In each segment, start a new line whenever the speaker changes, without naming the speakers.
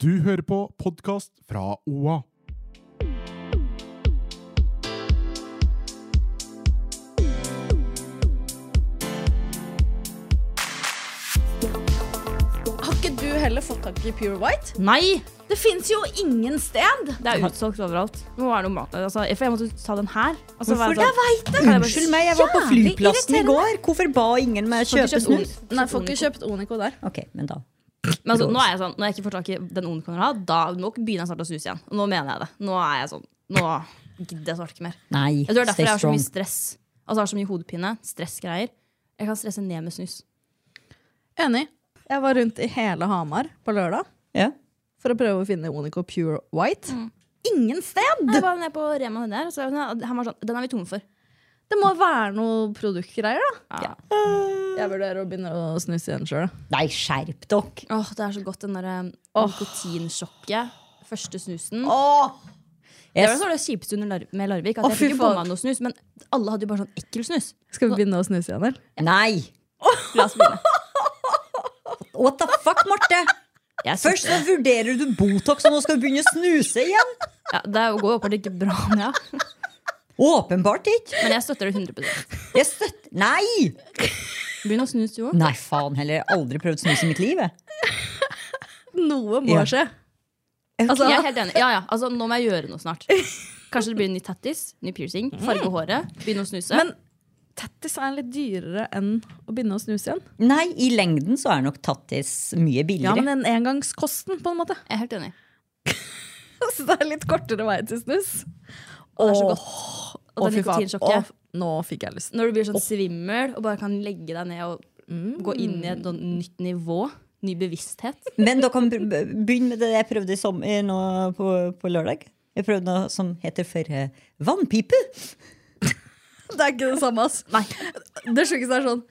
Du hører på podkast fra OA.
Har ikke du heller fått tak i Pure White?
Nei!
Det fins jo ingen sted!
Det er utsolgt overalt. Det må være noe mat. Altså, for jeg måtte ta den her. Altså,
Hvorfor?
være sånn-
Jeg vet det!
Kan jeg bare-
Unnskyld meg, jeg var på
Jævlig
flyplassen i går. Hvorfor ba ingen meg
Får ikke
kjøpe
kjøpt
snus?
Onico.
Nei, får ikke kjøpt Onico der.
Ok, men da.
Men altså, nå er jeg sånn, når jeg ikke får tak i den Onicon jeg har, da nå begynner jeg snart å snuse igjen. Og nå mener jeg det. Nå er jeg sånn. Nå gidder jeg snart ikke mer.
Nei,
Jeg tror det er derfor
stay
jeg har så
strong.
mye stress. Altså, jeg har så mye hodepine, stressgreier. Jeg kan stresse ned med snus.
Enig. Jeg var rundt i hele Hamar på lørdag
Ja.
for å prøve å finne Onico Pure White. Ingen sted!
Jeg var nede på Rema den der, og så han var sånn Den er vi tomme for.
Det må være noe produktgreier, da.
Ja.
Jeg vurderer å begynne å snuse igjen sjøl.
Nei, skjerp dere!
Åh, det er så godt, den derre nikotinsjokket. Første snusen. Det var
Jeg,
det var det kjipeste under Lar med Larvik. At
Å,
jeg
fy
fikk ikke på
faen.
meg noe snus, men alle hadde jo bare sånn ekkel snus.
Skal vi begynne å snuse igjen, eller?
nei!
La oss begynne.
What the fuck, Marte?
Jeg synes-
Først så vurderer du Botox, og nå skal du begynne å snuse igjen!
Ja, det går jo åpenbart ikke bra med henne.
Åpenbart ikke!
Men jeg støtter det 100
Jeg støtter Nei!
Begynn å snuse, jo.
Nei, faen heller. Jeg har aldri prøvd snus i mitt liv. jeg.
Noe må
Ja.
skje.
Altså, jeg er helt enig. Ja, ja. Altså, nå må jeg gjøre noe snart. Kanskje det blir ny tattis, ny piercing, farge håret, begynne å snuse.
Men tattis er litt dyrere enn å begynne å snuse igjen.
Nei, i lengden så er nok tattis mye
Ja,
billigere.
men den engangskosten, på en måte.
jeg er helt enig.
Så det er litt kortere vei til snus.
Og det er så godt. Og det
Å, fy faen.
nikotinsjokket.
Å, nå fikk jeg lyst.
Når du blir sånn svimmel og bare kan legge deg ned og gå inn i et sånn nytt nivå. Ny bevissthet.
Men dere kan br- begynne med det jeg prøvde i som- i nå på, på lørdag. Jeg prøvde noe som heter for eh, vannpipe.
Det er ikke det samme, ass. Nei. Det sjukeste er sånn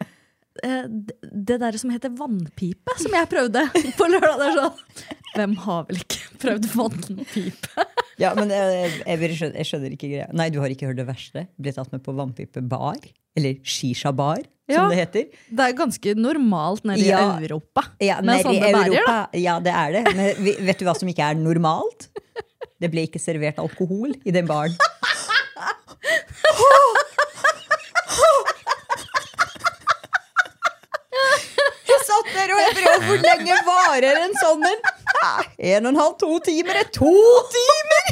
eh, d- Det der som heter vannpipe, som jeg prøvde på lørdag. Det er sånn Hvem har vel ikke prøvd vannpipe?
Ja, men jeg, jeg, jeg, bare skjønner, jeg skjønner ikke greia. Nei, du har ikke hørt det verste. Ble tatt med på vannpipebar. Eller shisha-bar,
Ja.
som det heter.
Det er ganske normalt nede i
Ja.
Europa.
Ja,
med
nede i
sånne sånn bærer, da.
Europa- Ja, det er det. Men vi- vet du hva som ikke er normalt? Det ble ikke servert alkohol i den baren. Jeg satt der og jeg prøvde hvor lenge varer en sånn en. Ah, En og en halv, to timer. eh, To timer!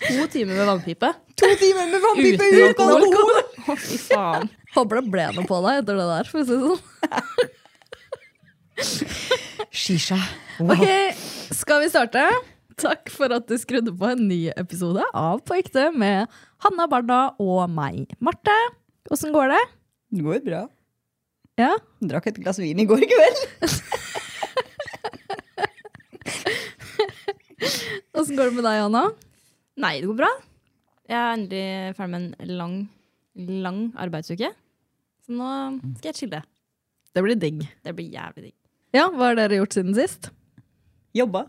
To timer med vannpipe
To timer med vannpipe
uten
uten alkohol!
alkohol. Å, fy faen.
Håper det ble noe på deg etter det der. For å si det sånn.
Shisha. Wow.
Ok, Skal vi starte? Takk for at du skrudde på en ny episode av På ekte med Hanna Barda og meg, Marte. Åssen går det?
Det går bra.
Ja?
Drakk et glass vin i går kveld.
Åssen går det med deg, Hanna?
Nei, det går bra. Jeg er endelig ferdig med en lang, lang arbeidsuke. Så nå skal jeg chille.
Det blir digg.
Det blir jævlig digg.
Ja, Hva har dere gjort siden sist?
Jobba.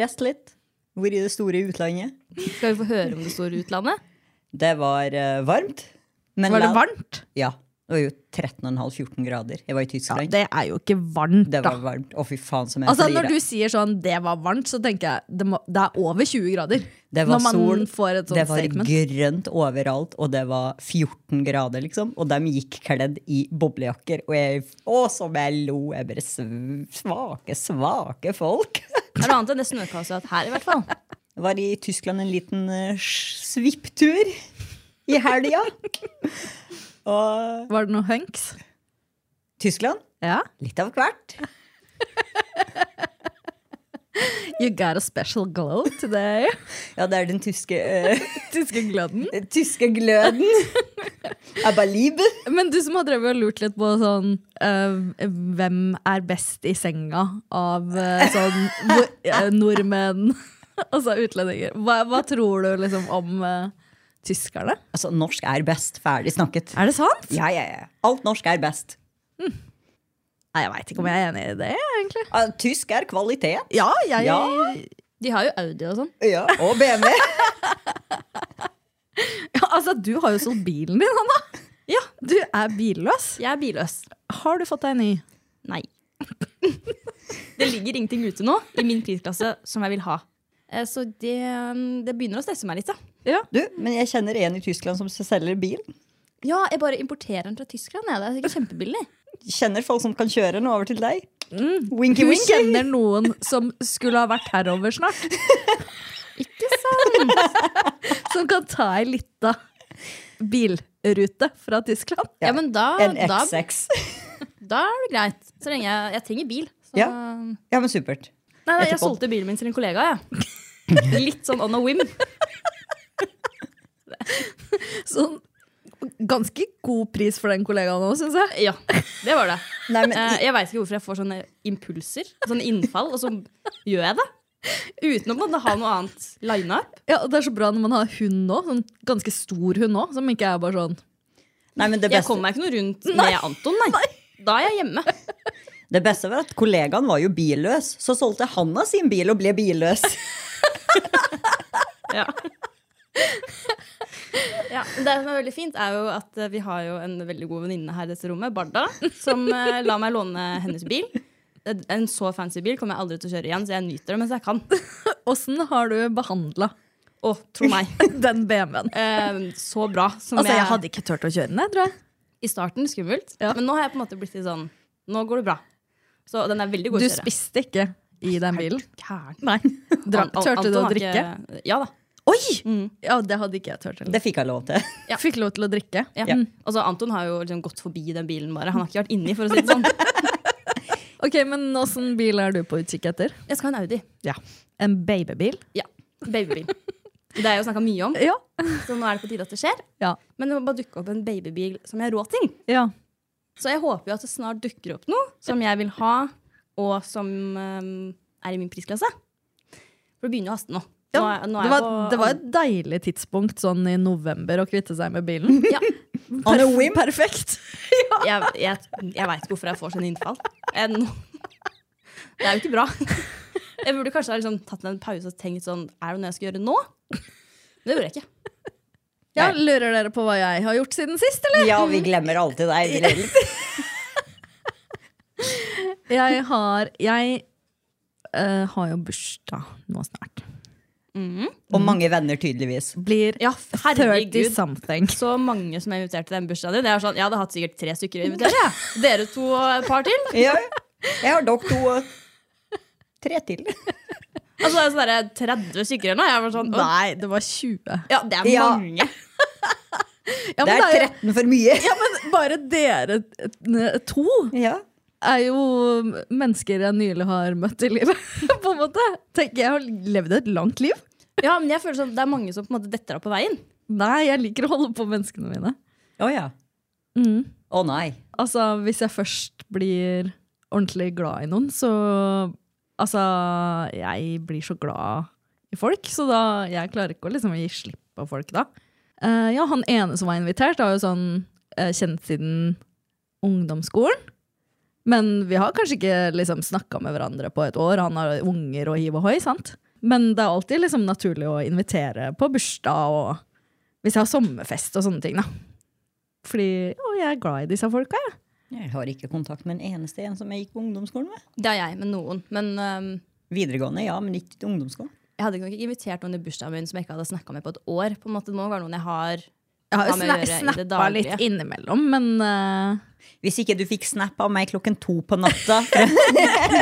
Rest litt. Hvor i det store utlandet.
Skal vi få høre om det store utlandet?
Det var eh, varmt. Men
Var det
la-
varmt?
Ja. Det var jo 13,5-14 grader. Jeg var i Tyskland. det,
Det er jo ikke varmt, da.
var varmt. Å, fy faen som jeg
Altså,
flirer.
når du sier sånn 'det var varmt', så tenker jeg det, må, det er over 20 grader.
Det var
når man
sol,
får et
det
sånt
var
statement.
grønt overalt, og det var 14 grader, liksom. Og de gikk kledd i boblejakker, og jeg Å, som jeg lo! Jeg bare sv- Svake, svake folk.
Det er noe annet enn det snøkaoset jeg har hatt her, i hvert fall.
Var i Tyskland en liten eh, svipptur i helga. Og
Var det noe hunks?
Tyskland
Ja.
litt av hvert.
You got a special glow today.
Ja, det er den tyske, eh,
Tyske gløden.
tyske gløden. Abalib.
Men du som har drevet og lurt litt på sånn eh, Hvem er best i senga av eh, sånn hvor- eh, nordmenn, altså utlendinger. Hva, hva tror du liksom om eh, tyskerne?
Altså, norsk er best. Ferdig snakket.
Er det sant?
Ja, ja, ja. Alt norsk er best.
Nei, Jeg veit ikke om jeg er enig i det, egentlig.
Ah, Tysk er kvalitet.
Ja, jeg
Ja.
De har jo Audi og sånn.
Ja, og BMW.
Altså, du har jo solgt bilen din, Hanna. Ja, Du er billøs.
Jeg er billøs.
Har du fått deg en ny?
Nei. det ligger ingenting ute nå i min prisklasse som jeg vil ha. Eh, Så det, um, det begynner å stresse meg litt. Da.
Du, men jeg kjenner en i Tyskland som selger bil.
Ja, jeg bare importerer den fra Tyskland. Jeg. Det er sikkert kjempebillig.
Kjenner folk som kan kjøre den over til deg.
Mm.
Winky,
Du
winky.
kjenner noen som skulle ha vært herover snart.
Ikke sant?
Som kan ta ei lita bilrute fra Tyskland.
Ja, men da,
En
da,
XX.
da er det greit. Så lenge jeg, jeg trenger bil. Så.
Ja.
Nei,
Ja, men supert.
nei, jeg
Etterpå.
solgte bilen min til en kollega, jeg. Litt sånn on a whim.
Sånn ganske god pris for den kollegaen òg, syns jeg.
Ja, det var det.
Nei, men,
Eh, Jeg veit ikke hvorfor jeg får sånne impulser, sånne innfall, og så gjør jeg det. Uten å på en måte ha noe annet lina up.
Ja, og Det er så bra når man har hund nå, sånn ganske stor hund òg, som ikke er bare sånn
nei, men det,
Jeg
beste,
kommer meg ikke noe rundt med Anton, nei. Da er jeg hjemme.
det beste var at kollegaen var jo billøs. Så solgte Hanna sin bil og ble billøs.
Ja. Ja, men det som er veldig fint, er jo at eh, vi har jo en veldig god venninne her i dette rommet, Barda, som eh, lar meg låne hennes bil. En så fancy bil kommer jeg aldri til å kjøre igjen, så jeg nyter det mens jeg kan.
Åssen har du behandla
Å, tro meg.
den BMW-en?
Eh, så bra. Som
Altså, jeg hadde ikke turt å kjøre den, jeg, tror jeg.
I starten skummelt,
Ja.
men nå har jeg på en måte blitt litt sånn Nå går det bra. Så den er veldig god
Du
å kjøre.
spiste ikke i den bilen.
Gæren.
Nei. Dra,
An- An-
tørte du
Anton
å
har
drikke?
ikke- Ja da.
Oi! Ja, det hadde ikke jeg tørt.
Det fikk jeg lov til.
Jeg fikk lov til å drikke. Mm.
Ja. Altså, Anton har jo liksom gått forbi den bilen bare. Han har ikke vært inni, for å si det sånn.
Ok, Men åssen bil er du på utkikk etter?
Jeg skal ha en Audi.
En babybil?
Ja. Babybil. Det er jo snakka mye om,
Ja.
så nå er det på tide at det skjer.
Ja.
Men det må bare dukke opp en babybil som jeg har råd til.
ja.
Så jeg håper jo at det snart dukker opp noe som jeg vil ha, og som eh, er i min prisklasse. For det begynner å haste nå. Nå er- nå er
det,
jeg
var,
på-
det var et deilig tidspunkt sånn i november å kvitte seg med bilen.
Ja.
On a whim.
Perfekt!
jeg, jeg, jeg veit ikke hvorfor jeg får sånne innfall. Jeg, nå, det er jo ikke bra. Jeg burde kanskje ha liksom tatt en pause og tenkt sånn Er det noe jeg skal gjøre nå? Men det gjorde jeg ikke.
Ja, Lurer dere på hva jeg har gjort siden sist, eller?
Ja, vi glemmer alltid deg. Ingrid.
Jeg har Jeg eh, har jo bursdag nå snart.
Og mange venner, tydeligvis.
Blir
Ja,
30
herregud.
something.
Så mange som jeg inviterte til den bursdagen din. Det er sånn, jeg hadde hatt sikkert tre stykker å invitere. jeg. Dere to og et par til.
Ja, jeg har dere to og tre til.
Altså det er sånn der 30 stykker eller noe. Jeg var sånn, «Å,
Nei, det var 20.
ja, det er
Ja.
mange.
Ja,
Det
men
er
det er jo-
13 for mye.
ja, men bare dere eh, to
Ja.
er jo mennesker jeg nylig har møtt i livet, på en måte. Tenker jeg har levd et langt liv.
Ja, men jeg føler sånn, det er mange som på en måte detter av på veien.
Nei, jeg liker å holde på menneskene mine.
Å ja. Å nei.
Altså, hvis jeg først blir ordentlig glad i noen, så Altså, jeg blir så glad i folk, så da Jeg klarer ikke å liksom gi slipp på folk da. Eh, ja, han ene som var invitert, har jo sånn eh, kjent siden ungdomsskolen. Men vi har kanskje ikke liksom snakka med hverandre på et år. Han har unger og hiv og hoi, sant? Men det er alltid liksom naturlig å invitere på bursdag og hvis jeg har sommerfest og sånne ting, da. Fordi å, jeg er glad i disse folka, jeg.
Jeg har ikke kontakt med en eneste en som jeg gikk på ungdomsskolen med.
Det er jeg med noen. Men øhm,
Videregående, ja, men ikke til ungdomsskolen.
jeg hadde nok ikke invitert noen i bursdagen min som jeg ikke hadde snakka med på et år. På en måte, Det må være noen jeg har
Jeg har
Hva
jo
med å
sna
gjøre i det
snappa
daglige?
litt innimellom, men eh,
Hvis ikke du fikk snap av meg klokken to på natta,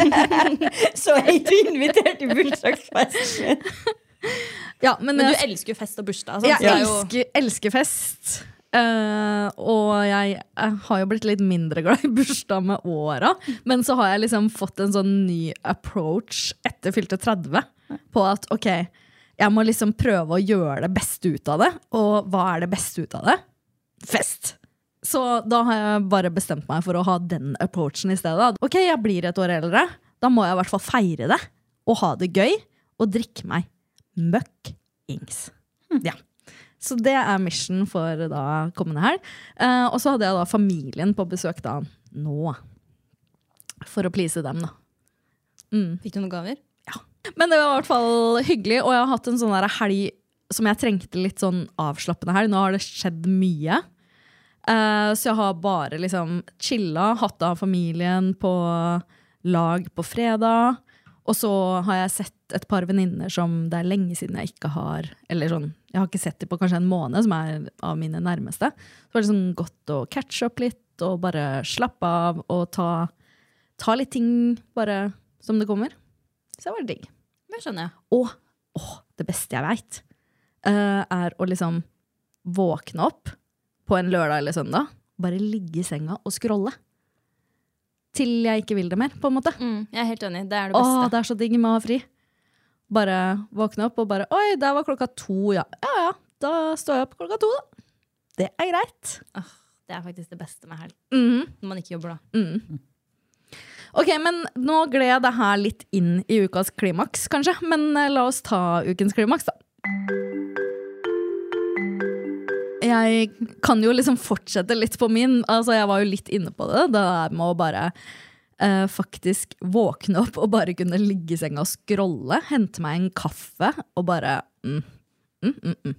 så er ikke du invitert til bursdagsfesten min.
Ja, men,
Men du
jeg,
elsker jo fest og bursdag.
jeg
sant? Så det er jo-
elsker, elsker fest. Eh, og jeg, eh, har jo blitt litt mindre glad i bursdag med åra. Men så har jeg liksom fått en sånn ny approach etter fylte 30 på at ok, jeg må liksom prøve å gjøre det beste ut av det. Og hva er det beste ut av det? Fest! Så da har jeg bare bestemt meg for å ha den approachen i stedet. Ok, jeg blir et år eldre. Da må jeg i hvert fall feire det og ha det gøy og drikke meg møkkings. Ja. Så det er mission for da kommende helg. Eh, og så hadde jeg da familien på besøk da nå. For å please dem, da.
Fikk du noen gaver?
Men det var i hvert fall hyggelig, og jeg har hatt en sånn der helg som jeg trengte litt sånn avslappende helg. Nå har det skjedd mye. Eh, så jeg har bare liksom chilla, hatt av familien på lag på fredag. Og så har jeg sett et par venninner som det er lenge siden jeg ikke har Eller sånn, jeg har ikke sett dem på kanskje en måned, som er av mine nærmeste. Så var det sånn godt å catche opp litt og bare slappe av og ta, ta litt ting bare som det kommer. Så det var digg.
Det skjønner jeg.
Og åh, det beste jeg veit, er å liksom våkne opp på en lørdag eller søndag, bare ligge i senga og scrolle. Til jeg ikke vil det mer, på en måte.
Mm, jeg er helt enig. Det er det
Åh,
beste.
det er så digg med å ha fri. Bare våkne opp og bare Oi, der var klokka to, ja. Ja ja, da står jeg opp klokka to, da. Det er greit.
Åh, det er faktisk det beste med helg.
Mhm.
Når man ikke jobber, da.
Ok, men nå gled jeg det her litt inn i ukas klimaks, kanskje. Men eh, la oss ta ukens klimaks, da. Jeg kan jo liksom fortsette litt på min. Altså, jeg var jo litt inne på det. Det der med å bare eh, faktisk våkne opp og bare kunne ligge i senga og scrolle. Hente meg en kaffe og bare mm, mm, mm, mm.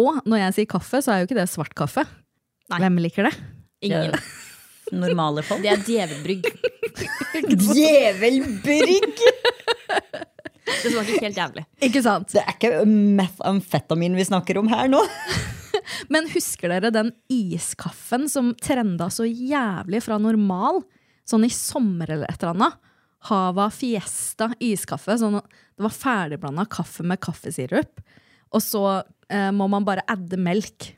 Og når jeg sier kaffe, så er jo ikke det svart kaffe. Hvem liker det?
Ingen.
Normale folk.
Det er djevelbrygg.
Djevelbrygg!
Det smaker helt jævlig.
Ikke sant?
Det er ikke methamfetamin vi snakker om her nå.
Men husker dere den iskaffen som trenda så jævlig fra normal? Sånn i sommer eller et eller annet. Hava Fiesta iskaffe. Sånn, det var ferdigblanda kaffe med kaffesirup. Og så eh, må man bare adde melk.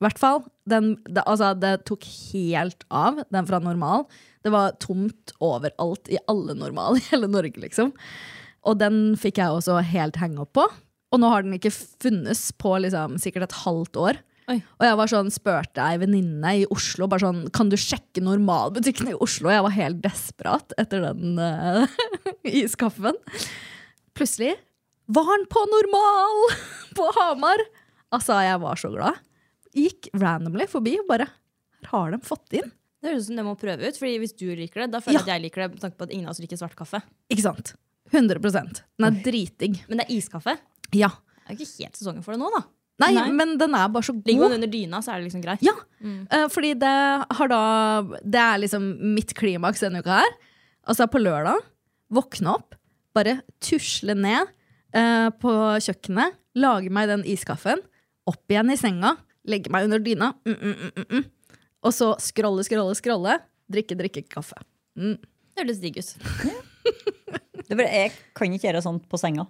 I hvert fall. Den, det, altså, det tok helt av, den fra normal. Det var tomt overalt i alle normal i hele Norge, liksom. Og den fikk jeg også helt hang-up på. Og nå har den ikke funnes på liksom, sikkert et halvt år.
Oi.
Og jeg var sånn, spurte ei venninne i Oslo bare sånn, kan du sjekke normalbutikken i Oslo. Jeg var helt desperat etter den eh, iskaffen. Plutselig var den på normal på Hamar! Altså, jeg var så glad. Gikk randomly forbi og bare Her har de fått det inn.
Det høres ut som det må prøve ut. Fordi hvis du liker det, da føler jeg
Ja.
at jeg liker det. Med tanke på at ingen av oss liker svart kaffe.
Ikke sant? 100 Den er dritdigg.
Men det er iskaffe.
Ja.
Det er jo ikke helt sesongen for det nå, da.
Nei,
Nei.
men den er bare så god.
Ligger man under dyna, så er det liksom greit.
Ja, eh, fordi det har da Det er liksom mitt klimaks denne uka her. Altså på lørdag, våkne opp, bare tusle ned eh, på kjøkkenet, lage meg den iskaffen, opp igjen i senga, legge meg under dyna, mm, mm, mm, mm, mm. og så scrolle, scrolle, scrolle, drikke, drikke kaffe.
Det høres digg ut.
Det er bare, jeg kan ikke gjøre sånt på senga.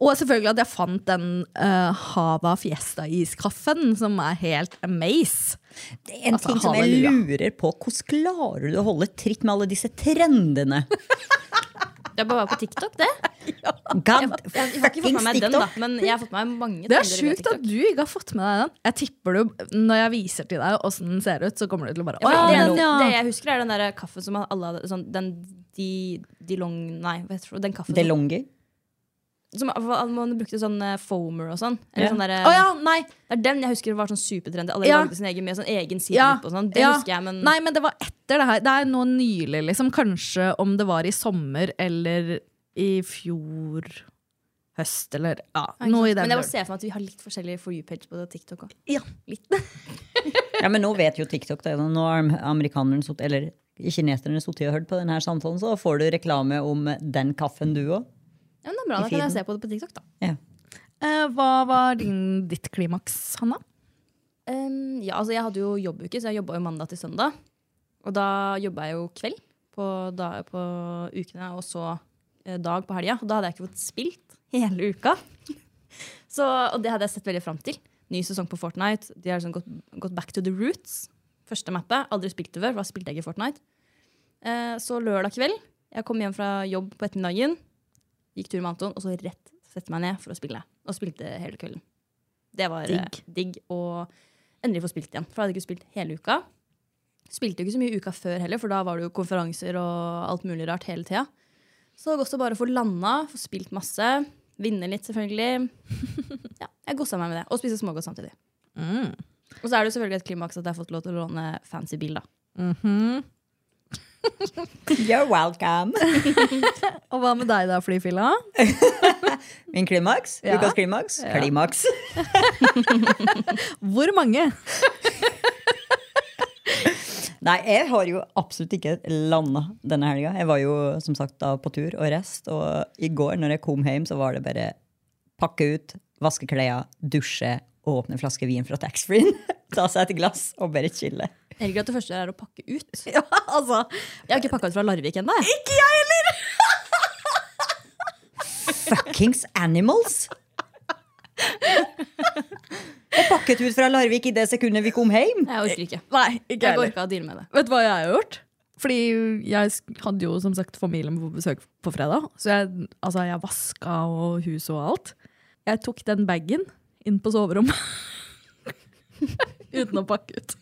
Og selvfølgelig at jeg fant den eh, Hava Fiesta-iskaffen, som er helt amaze.
Det er en
Altså,
ting som jeg lurer på. Hvordan klarer du å holde tritt med alle disse trendene?
Det er bare å være på TikTok, det.
God
Jeg har ikke fått med meg den, da, men jeg har fått med meg mange
Det er
trender via
sjukt at
TikTok.
du ikke har fått med deg den. Jeg tipper du, Når jeg viser til deg åssen den ser ut, så kommer du til å bare
Ja,
Å
for
ja,
det,
den,
er-
ja.
det jeg husker, er den der kaffen som alle hadde sånn, Den de, de long Nei, hva heter det? Den kaffen som,
DeLonghi.
som hva- Man brukte sånn eh, foamer og sånn. Eller
Ja.
sånn der, eh,
Å ja, nei.
Det er den jeg husker var sånn supertrendy. Alle
Ja.
lagde sin egen med sånn egen sirup
Ja,
og sånn. Det
ja.
husker jeg, men
nei, men det var etter det her. Det er nå nylig, liksom. Kanskje om det var i sommer eller i fjor høst, eller ja,
Ja, ikke
noe i
sant?
den
Men jeg må
duren.
se for meg at vi har litt forskjellige for you-page på TikTok òg.
Ja.
Ja, men nå vet jo TikTok det. Nå har amerikanerne sott- eller kineserne sittet og hørt på denne samtalen, så får du reklame om den kaffen du òg.
Ja, men det er bra,
I
da kan
feeden.
jeg se på det på TikTok, da.
Ja.
Eh, Hva var din, ditt klimaks, Hanna?
Ehm, ja, altså jeg hadde jo jobbuke, så jeg jobba jo mandag til søndag. Og da jobba jeg jo kveld på, da, på ukene, og så eh, dag på helga. Og da hadde jeg ikke fått spilt hele uka. Så, og det hadde jeg sett veldig fram til. Ny sesong på Fortnite. De har liksom gått, gått back to the roots. Første mappet. Aldri spilt det før. for Da spilte jeg ikke Fortnite. Eh, så lørdag kveld Jeg kom hjem fra jobb på ettermiddagen, gikk tur med Anton, og så rett sette meg ned for å spille. Og spilte hele kvelden. Det var eh, digg. og endelig få spilt igjen. For jeg hadde ikke spilt hele uka. Spilte jo ikke så mye uka før heller, for da var det jo konferanser og alt mulig rart hele tida. Så det var godt å bare få landa, få spilt masse, vinne litt selvfølgelig. ja, jeg godsa meg med det. Og spise smågodt samtidig.
Mm.
Og så er det jo selvfølgelig et klimaks at jeg har fått lov til å låne fancy bil, da.
You're welcome.
Og hva med deg da, flyfilla?
Min klimaks?
Ja.
Ukas klimaks? Klimaks.
Hvor mange?
Nei, jeg har jo absolutt ikke landa denne helga. Jeg var jo som sagt da på tur og rest, og i går når jeg kom hjem, så var det bare pakke ut, vaske klærne, dusje og åpne en flaske vin fra taxfree-en. Ta seg et glass og bare chille.
Jeg liker at det første er å pakke ut.
Ja, altså.
Jeg har ikke pakka ut fra Larvik ennå. jeg.
Fuckings animals! Og pakket ut fra Larvik i det sekundet vi kom hjem.
Jeg orker ikke.
Nei, ikke
Jeg går
heller.
ikke å deale med det.
Vet du hva jeg har gjort? Fordi jeg sk- hadde jo som sagt familien på besøk på fredag. Så jeg, altså, jeg vaska og huset og alt. Jeg tok den bagen inn på soverommet. Uten å pakke ut.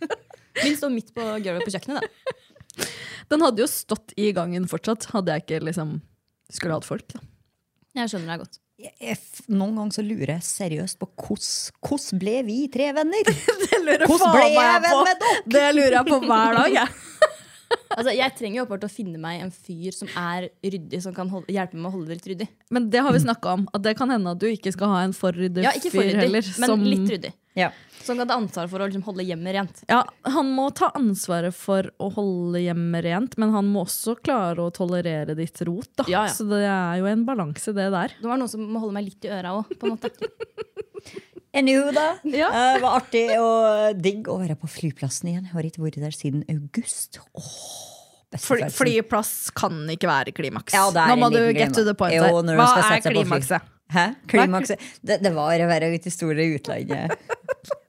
Min står midt på gulvet på kjøkkenet, da.
Den hadde jo stått i gangen fortsatt, hadde jeg ikke liksom skulle hatt folk. Da.
Jeg skjønner deg godt.
Jeg, jeg, noen ganger så lurer jeg seriøst på hvordan ble vi tre venner? Hvordan ble
faen
jeg
meg
venn
på.
med dere?
Det lurer jeg på hver dag. Jeg.
Altså, jeg trenger jo åpenbart å finne meg en fyr som er ryddig, som kan holde, hjelpe meg med å holde det litt ryddig.
Men det har vi snakka om, at det kan hende at du ikke skal ha en for ryddig
Ja, ikke for
fyr
ryddig,
heller.
men
som-
litt ryddig.
Ja.
Som kan ta ansvar for å liksom holde hjemmet rent.
Ja, han må ta ansvaret for å holde hjemmet rent, men han må også klare å tolerere ditt rot. Da.
Ja, ja.
Så det er jo en balanse, det der.
Det var noen som må holde meg litt i øra òg, på en måte.
Anywho, da.
Ja.
Eh, Det var artig og digg å være på flyplassen igjen. Jeg har ikke vært der siden august. Åh, beste følelsen.
flyplass kan ikke være klimaks.
Ja, det er
Nå må
en
du
liten
get to the point.
klima.
her.
Jo, når du
Hva
skal
er
sette seg på fly.
klimakset?
Hæ? Klimakset. Det, det var å være ute i store utlandet.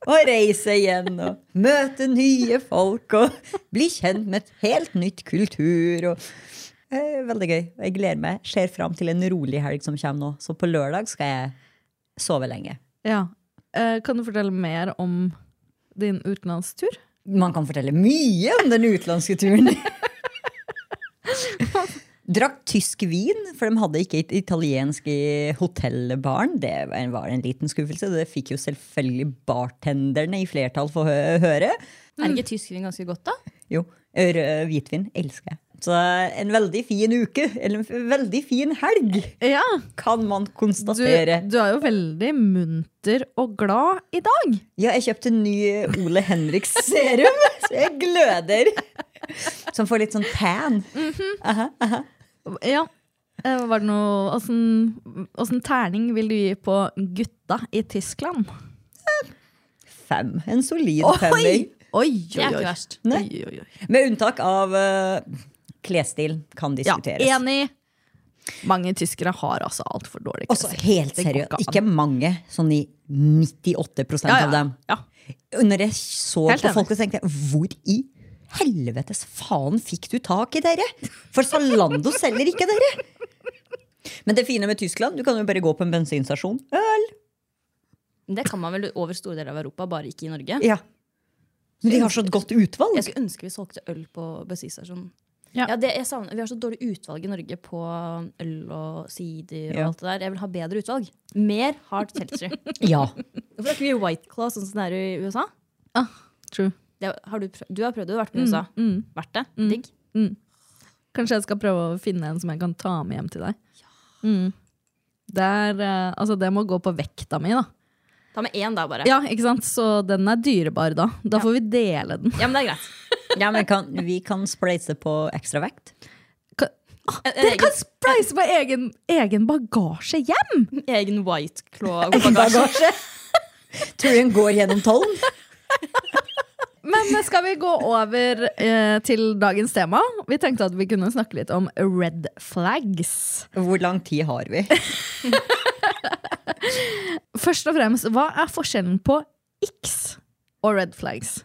Og reise igjen og møte nye folk og bli kjent med et helt nytt kultur. Og, eh, veldig gøy. Og jeg gleder meg. Ser fram til en rolig helg som kommer nå. Så på lørdag skal jeg sove lenge.
Ja. Eh, kan du fortelle mer om din utenlandstur?
Man kan fortelle mye om den utenlandske turen. Drakk tysk vin, for de hadde ikke it- italiensk i hotellbaren. Det var en- var en liten skuffelse. Det fikk jo selvfølgelig bartenderne i flertall få hø høre.
Er ikke tyskvin ganske godt, da?
Jo, rød hvitvin elsker jeg. Så en veldig fin uke, eller en f- veldig fin helg,
Ja,
kan man
du,
konstatere.
du er jo veldig munter og glad i dag.
Ja, jeg kjøpte en ny Ole Henriks serum, så jeg gløder. Som får litt sånn tan.
Ja. Eh, Var det noe Åssen åssen terning vil du gi på gutta i Tyskland?
Fem. En solid femmer.
Oi,
Det er ikke verst.
Nei.
Oi, oi, oi.
Med unntak av eh, klesstil kan
Ja,
diskuteres.
enig. Mange tyskere har altså altfor dårlig
Også helt
Det går
seriøst,
ikke
ikke mange. Sånn i 98
Ja,
av
ja,
dem.
ja.
Og Når jeg så
Helt
på
enig.
folk, så tenkte jeg hvor i helvetes faen fikk du tak i dere? For Zalando selger ikke dere! Men det fine med Tyskland, du kan jo bare gå på en bensinstasjon. Øl!
Men Det kan man vel over store deler av Europa, bare ikke i Norge.
Ja. Men de har så et godt utvalg.
Jeg skulle ønske vi solgte øl på bensinstasjonen.
Ja.
Ja. det, jeg savner, vi har så dårlig utvalg i Norge på øl og sider og
Ja.
alt det der. Jeg vil ha bedre utvalg. Mer hard seltzer.
Ja.
Hvorfor har ikke vi White Claw sånn som det er i USA?
True.
Det, har du, prøv, du har prøvd det, du har vært på USA. Vært det? Digg?
Kanskje jeg skal prøve å finne en som jeg kan ta med hjem til deg. Mm. Det, er, eh, altså det må gå på vekta mi, da.
Ta med én da, bare. Ja.
Ja, ikke sant? Så den er dyrebar, da. Da får vi dele den.
men det er greit.
ja, men kan, vi kan spleise på ekstra vekt.
Kan, Ah,
En, en
dere kan
egen,
spleise på egen, egen bagasje hjem!
egen White Claw-bagasje.
bagasje. Tror du hun går gjennom tollen?
Men eh, skal vi gå over eh, til dagens tema? Vi tenkte at vi kunne snakke litt om red flags.
Hvor lang tid har vi?
Først og fremst, hva er forskjellen på X og red flags?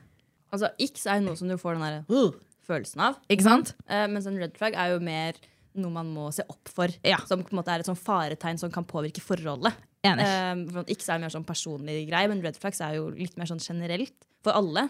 Altså, X er jo noe som du får den der uh, følelsen av.
Ikke sant?
Eh, mens en red flag er jo mer noe man må se opp for.
Ja.
Som på en måte er et sånn faretegn som kan påvirke forholdet.
Enig.
Eh, for at X er mer sånn personlig greie, men red flags er jo litt mer sånn generelt for alle.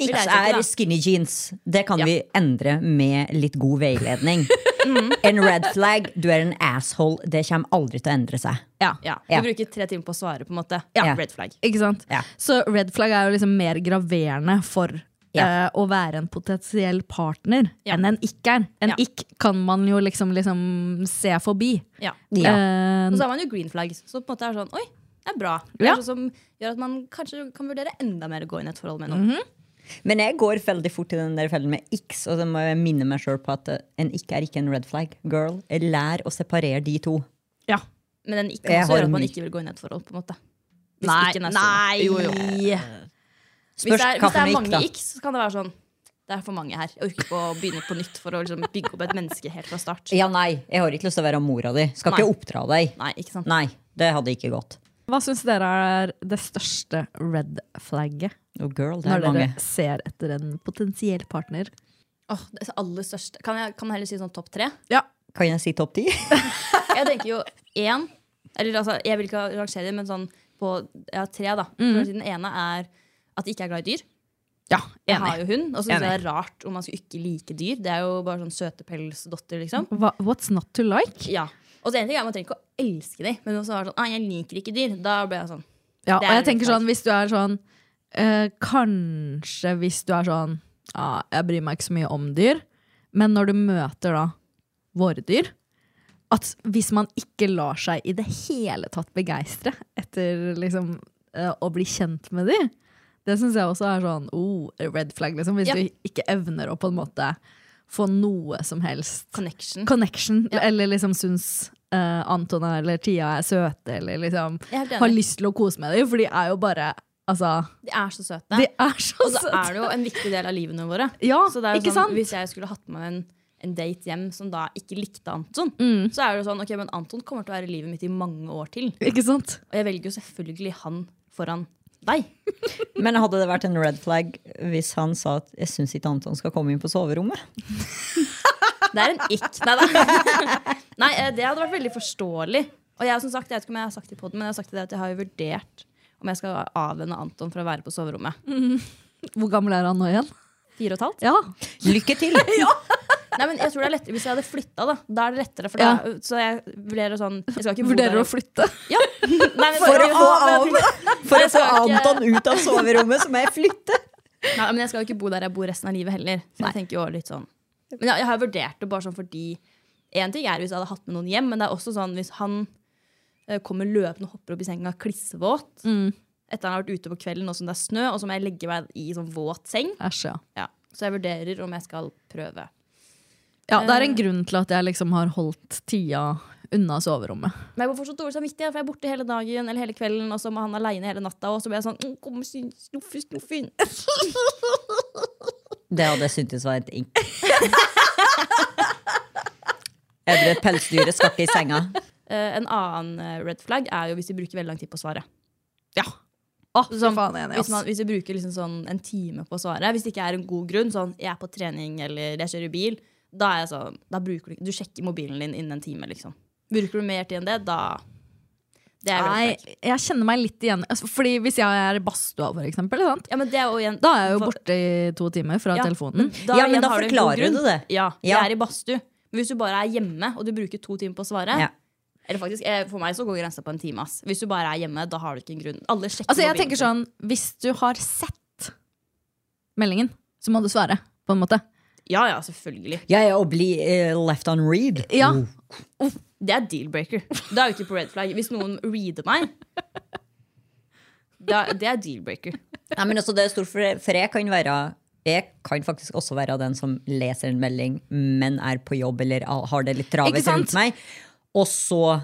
Vil jeg
tips
tenke,
er
da.
skinny jeans. Det kan
Ja.
vi endre med litt god veiledning.
Mm.
En red flag, du er en asshole. Det kommer aldri til å endre seg.
Ja.
Ja, Du
Ja.
bruker tre timer på å svare, på en måte.
Ja.
Red flag.
Ikke sant?
Ja.
Så red flag er jo liksom mer graverende for
Ja.
eh, å være en potensiell partner
Ja.
enn en ikke er. En
Ja.
ikk kan man jo liksom, liksom se forbi.
Ja.
Eh,
Mm.
Og så har man jo green flag, så på en måte er det sånn Oi, det er bra. Det
Ja.
er sånn som gjør at man kanskje kan vurdere enda mer å gå inn i et forhold med noen.
Mhm. Men jeg går veldig fort i den der fellen med x, og så må jeg minne meg sjøl på at eh, en ikke er ikke en red flag. Girl, lær å separere de to.
ja.
Men den ikke
Jeg
også
har
gjør
en
at man
myk-
ikke vil gå inn i et forhold, på en måte. Hvis
Nei,
ikke den er
nei.
sånn. Jo, jo. Hvis det
Spørs
er,
hva
hvis det
for
er
en ikk,
mange
da.
ikk, så kan det være sånn Det er for mange her. Jeg orker ikke å begynne på nytt for å liksom bygge opp et menneske helt fra start.
Ja, nei, jeg har ikke lyst til å være mora di. Skal
Nei.
ikke oppdra deg.
Nei, ikke sant?
Nei, det hadde ikke gått.
Hva syns dere er det største red flagget
Oh, girl, det
når
er
dere
mange.
ser etter en potensiell partner?
Åh, det er aller største Kan jeg kan jeg heller si sånn topp tre?
Kan jeg si topp ti?
Jeg tenker jo én Eller altså, jeg vil ikke rangere dem, men sånn på ja, tre, da.
Mm.
Den ene er at de ikke er glad i dyr.
Ja,
Jeg har jo hund, og så synes jeg
Enig.
det er rart om man skal ikke like dyr. Det er jo bare sånn søtepelsdotter, liksom.
Hva, what's not to like?
Ja. Og så en ting er Man trenger ikke å elske dem, men også være sånn, ah, jeg liker ikke dyr. Da ble jeg sånn.
Ja,
Det
og
er
jeg
red
tenker
flag.
sånn, hvis du er sånn eh, Kanskje hvis du er sånn ja, Jeg bryr meg ikke så mye om dyr, men når du møter da våre dyr At hvis man ikke lar seg i det hele tatt begeistre etter liksom eh, å bli kjent med de, det syns jeg også er sånn oh, red flag, liksom. Hvis
Ja.
du ikke evner å på en måte få noe som helst
Connection.
connection, eller liksom syns eh, Antona eller Tia er søte, eller liksom
Jeg er helt enig.
har lyst til å kose med dem, for de er jo bare Altså,
De er så søte.
de er så
og så
søte!
er det jo en viktig del av livene våre.
Ja,
så det er jo
ikke
sånn,
sant?
Hvis jeg skulle hatt med en, en date hjem som da ikke likte Anton,
Mm.
så er det jo sånn, ok, men Anton kommer til å være i livet mitt i mange år til.
Ikke sant?
Og jeg velger jo selvfølgelig han foran deg.
Men hadde det vært en red flag hvis han sa at jeg syns ikke Anton skal komme inn på soverommet?
Det er en ikk. Nei, da. Nei, eh, det hadde vært veldig forståelig. Og jeg, har som sagt, jeg vet ikke om jeg har sagt det i podden, men jeg har sagt det at jeg har jo vurdert om jeg skal avvenne Anton fra å være på soverommet.
Hvor gammel er han nå igjen?
Fire og et halvt?
Ja.
Lykke til!
Nei, men jeg tror det er lettere Hvis jeg hadde flytta, da. Da er det lettere. For
Ja.
da, så jeg vurderer sånn Jeg skal ikke bo
Vurderer
der-
å flytte?
Ja. Nei, men,
For å få,
Nei,
an, for å få Anton ut av soverommet, så må jeg flytte!
men jeg skal jo ikke bo der jeg bor resten av livet heller. Så jeg tenker jo litt sånn Men jeg, jeg har vurdert det bare sånn fordi Én ting er hvis jeg hadde hatt med noen hjem, men det er også sånn hvis han eh, kommer løpende og hopper opp i senga klissvåt etter han har vært ute på kvelden nå som det er snø, og så må jeg legge meg i sånn våt seng.
Æsj, ja.
Ja. Så jeg vurderer om jeg skal prøve.
ja. Det er en grunn til at jeg liksom har holdt Tia unna soverommet.
Men jeg får fortsatt dårlig samvittighet, for jeg er borte hele dagen eller hele kvelden, og så må han aleine hele natta, og så blir jeg sånn mm, Kom, snuffe, snuffe inn.
Det hadde jeg syntes var et ink. Eller pelsdyret skal ikke i senga.
Eh, en annen eh, red flag er jo hvis de bruker veldig lang tid på å svare.
Ja.
Sånn,
faen, jeg er enig,
hvis,
ass.
man, hvis du bruker liksom sånn en time på å svare, hvis det ikke er en god grunn, sånn 'jeg er på trening' eller 'jeg kjører bil', da er jeg sånn, da bruker du ikke Du sjekker mobilen din innen en time, liksom. Bruker du mer tid enn det, da Det er red flag.
Nei, jeg kjenner meg litt igjen. Altså, Fordi hvis jeg er i badstua, for eksempel, sant?
Ja, men det er jo igjen
da er jeg jo borte i to timer fra
Ja.
telefonen.
Da
Ja, men
igjen
da
har en god
forklarer du
grunn.
det.
Ja, jeg
Ja.
er i badstue. Men hvis du bare er hjemme, og du bruker to timer på å svare
Ja.
Eller faktisk, eh, For meg så går grensa på en time. ass Hvis du bare er hjemme, da har du ikke en grunn. Alle sjekker
Altså jeg
mobilen
tenker
sin.
sånn, Hvis du har sett meldingen, så må du svare. på en måte
Ja, ja, selvfølgelig.
Ja, ja, å bli eh, left on read.
Ja,
Det er deal-breaker. Da er jo ikke på red flag. Hvis noen reader meg, da, det er deal-breaker.
Nei, men altså, det er stort, for, for jeg kan være jeg kan faktisk også være den som leser en melding, men er på jobb eller har det litt
Ikke
travelt
sant?
rundt meg. Og så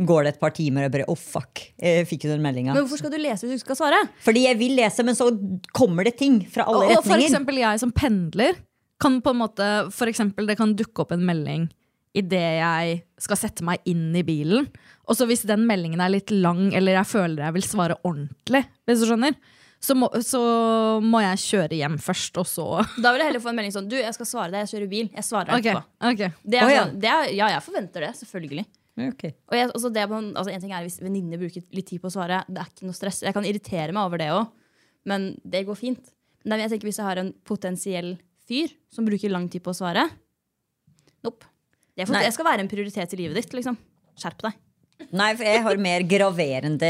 går det et par timer, og jeg bare Å, fuck! Jeg fikk jo den meldinga.
Men hvorfor skal du lese hvis du ikke skal svare?
Fordi jeg vil lese, men så kommer det ting fra
Oh.
alle
og, og for
retninger.
eksempel jeg som pendler kan på en måte, for eksempel, Det kan dukke opp en melding idet jeg skal sette meg inn i bilen. Og så hvis den meldingen er litt lang, eller jeg føler jeg vil svare ordentlig, hvis du skjønner, så må, så må jeg kjøre hjem først, og så
Da vil jeg heller få en melding sånn Du, jeg skal svare deg, jeg kjører bil. Jeg svarer
Ok,
etterpå.
ok.
Det er
Å, ja.
sånn, det er, ja, jeg forventer det. Selvfølgelig.
Ok.
Og jeg, også det man, altså en ting er Hvis venninner bruker litt tid på å svare, det er ikke noe stress. Jeg kan irritere meg over det òg, men det går fint. Nei, men jeg tenker Hvis jeg har en potensiell fyr som bruker lang tid på å svare Nope. Det, er for,
Nei.
det skal være en prioritet i livet ditt. liksom. Skjerp deg.
Nei, for jeg har mer graverende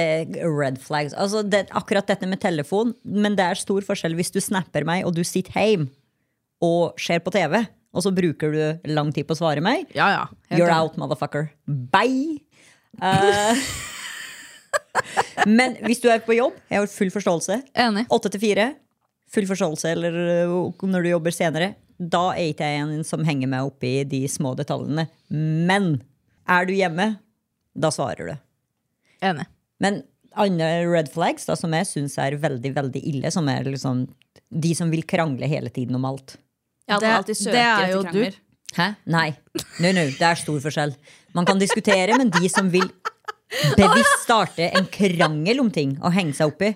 red flags. Altså, det, akkurat dette med telefon, men det er stor forskjell hvis du snapper meg, og du sitter hjemme og ser på TV, og så bruker du lang tid på å svare meg.
Ja, ja. helt
You're
enig.
out, motherfucker. Bye! Eh, men hvis du er på jobb, jeg har full forståelse.
Enig.
Åtte til fire, full forståelse, eller øh, når du jobber senere. Da er ikke jeg en som henger meg opp i de små detaljene. Men er du hjemme, da svarer du.
Enig.
Men andre red flags da, som jeg syns er veldig veldig ille, som er liksom de som vil krangle hele tiden om alt.
Ja, at man
Det-
alltid søker
det er
etter
jo
krangler.
Hæ? Nei. No, no, det er stor forskjell. Man kan diskutere, men de som vil bevisst starte en krangel om ting og henge seg opp i,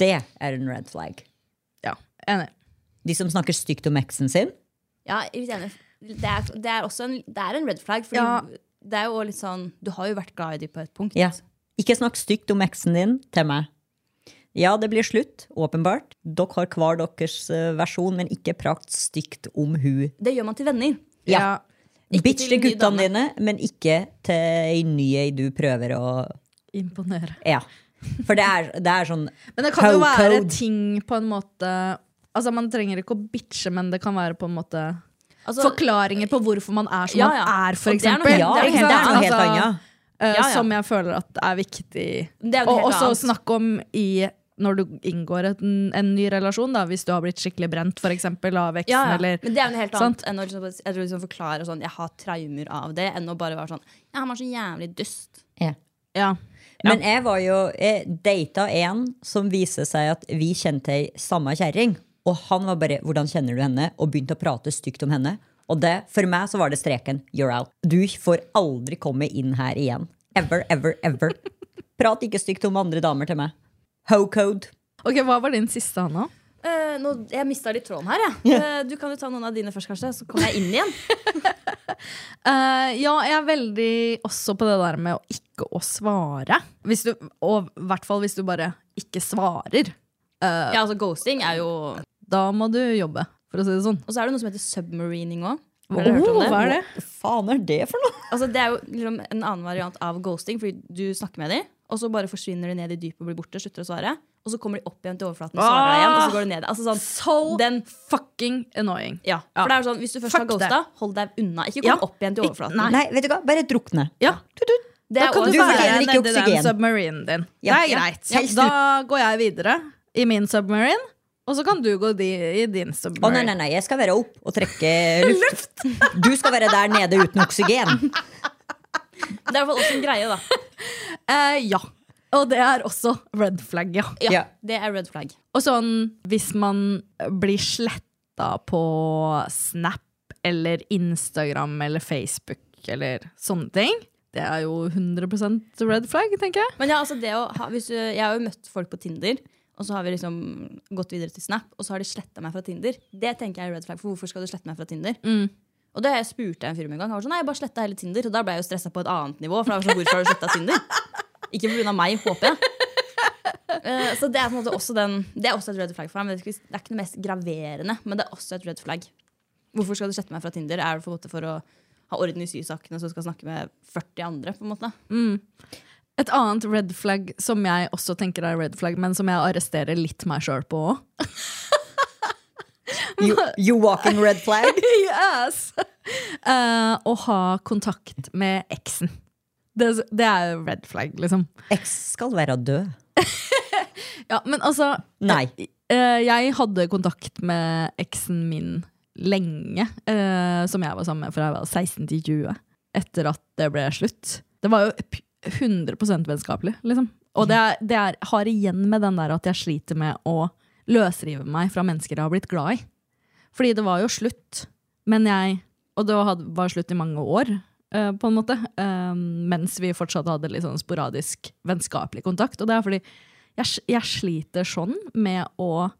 det er en red flag.
Ja, enig.
De som snakker stygt om eksen sin.
Ja, jeg er litt enig. Det er, det er også en, det er en red flag. Fordi
Ja.
det er jo også litt sånn Du har jo vært glad i dem på et punkt.
Ja. Ikke snakk stygt om eksen din til meg. Ja, det blir slutt, åpenbart. Dere har hver deres eh, versjon, men ikke prakt stygt om hun.
Det gjør man til venner.
Ja.
Ikke
Bitch
til
til
en ny
guttene
dame.
dine, men ikke til ei ny ei du prøver å
Imponere.
Ja. For det er, det er sånn
Men det kan jo
How
være
code.
ting på en måte Altså Man trenger ikke å bitche, men det kan være på en måte
Altså,
forklaringer på hvorfor man er som
Ja,
man
ja.
er, for
Og det er noe
eksempel.
helt-
Ja,
det er
det
Ikke
er
sant?
noe helt
Altså,
annet.
eh,
Ja, ja.
Som jeg føler at er viktig.
Det er jo noe
Og
helt
også
annet.
snakke om i når du inngår en, en ny relasjon, da, hvis du har blitt skikkelig brent for eksempel, av eksen.
ja, ja.
Eller,
Men det er jo noe helt
sant?
annet enn å liksom, jeg tror liksom forklare sånn Jeg har traumer av det, enn å bare være sånn Ja, han var så jævlig dust.
Ja.
Ja.
Men jeg var jo jeg data en som viste seg at vi kjente ei samme kjerring. Og han var bare 'hvordan kjenner du henne?' og begynte å prate stygt om henne. Og det, for meg så var det streken 'you're out'. Du får aldri komme inn her igjen. Ever, ever, ever. Prat ikke stygt om andre damer til meg. Ho-code.
Ok, Hva var din siste, Hanna?
Eh, nå, jeg mista litt tråden her, jeg. Eh, du kan jo ta noen av dine først, kanskje, så kommer jeg inn igjen.
Eh, ja, jeg er veldig også på det der med å ikke å svare. Hvis du, og i hvert fall hvis du bare ikke svarer.
Ja, altså Ghosting er jo Og
Da må du jobbe, for å si det sånn.
så er det noe som heter submarining òg.
Åh, hva er det?
Hva faen er det for noe?
Altså, det er jo liksom en annen variant av ghosting, fordi du snakker med dem, og så bare forsvinner de ned i dypet og blir borte, slutter å svare. Og så kommer de opp igjen til overflaten og svarer deg igjen. Og så går de ned. Altså sånn,
So
den,
fucking annoying.
ja.
Ja.
For det er sånn, Hvis du først
Fuck
har ghosta, hold deg unna. Ikke kom
Ja.
opp igjen til overflaten.
Nei. vet du hva? Bare drukne.
Ja.
Det
Da
er
kan
også-
du
Du fortjener
være
ikke
nedi den
oksygen.
submarinen din.
Ja,
det er
ja.
greit.
Helst
Da går jeg videre i min submarine, og så kan du gå di, i
Å
din
nei,
submarine.
nei, nei, jeg skal være opp og trekke luft. Du skal være der nede uten oksygen.
Det er i hvert fall også en greie, da.
Eh, ja. Og det er også red flag, ja.
Ja,
Ja.
Det er red flag.
Og sånn hvis man blir sletta på Snap eller Instagram eller Facebook eller sånne ting. Det er jo 100 red flag, tenker jeg.
Men ja, altså det å ha, hvis du, Jeg har jo møtt folk på Tinder, og så har vi liksom gått videre til Snap, og så har de sletta meg fra Tinder. Det tenker jeg er red flag, for hvorfor skal du slette meg fra Tinder? Og det har jeg spurte jeg en fyr om en gang. Han var sånn, nei, jeg bare sletta hele Tinder. Og da ble jeg jo stressa på et annet nivå. For jeg var sånn, hvorfor har du sletta Tinder? Ikke pga. meg, håper jeg. Eh, Så det er på en måte også den Det er også et red flag for meg. Men det er ikke- det er ikke noe mest graverende, men det er også et red flag. Hvorfor skal du slette meg fra Tinder? Er det på en måte for å ha orden i sysakene og så skal snakke med 40 andre? på en måte
Et annet red flag som jeg også tenker er red flag, men som jeg arresterer litt meg sjøl på òg.
You, you walking red flag.
yes! Eh, å ha kontakt med eksen. Det, det er jo red flag, liksom.
Eks skal være død.
Ja, men altså
Nei.
eh, Jeg hadde kontakt med eksen min lenge, eh, som jeg var sammen med fra jeg var 16 til 20, etter at det ble slutt. Det var jo p- 100 vennskapelig, liksom. Og det, er, det er, har igjen med den der at jeg sliter med å løsrive meg fra mennesker jeg har blitt glad i. Fordi det var jo slutt, men jeg Og det had- var slutt i mange år, eh, på en måte. eh, mens vi fortsatt hadde litt sånn sporadisk vennskapelig kontakt. Og det er fordi jeg, s- jeg sliter sånn med å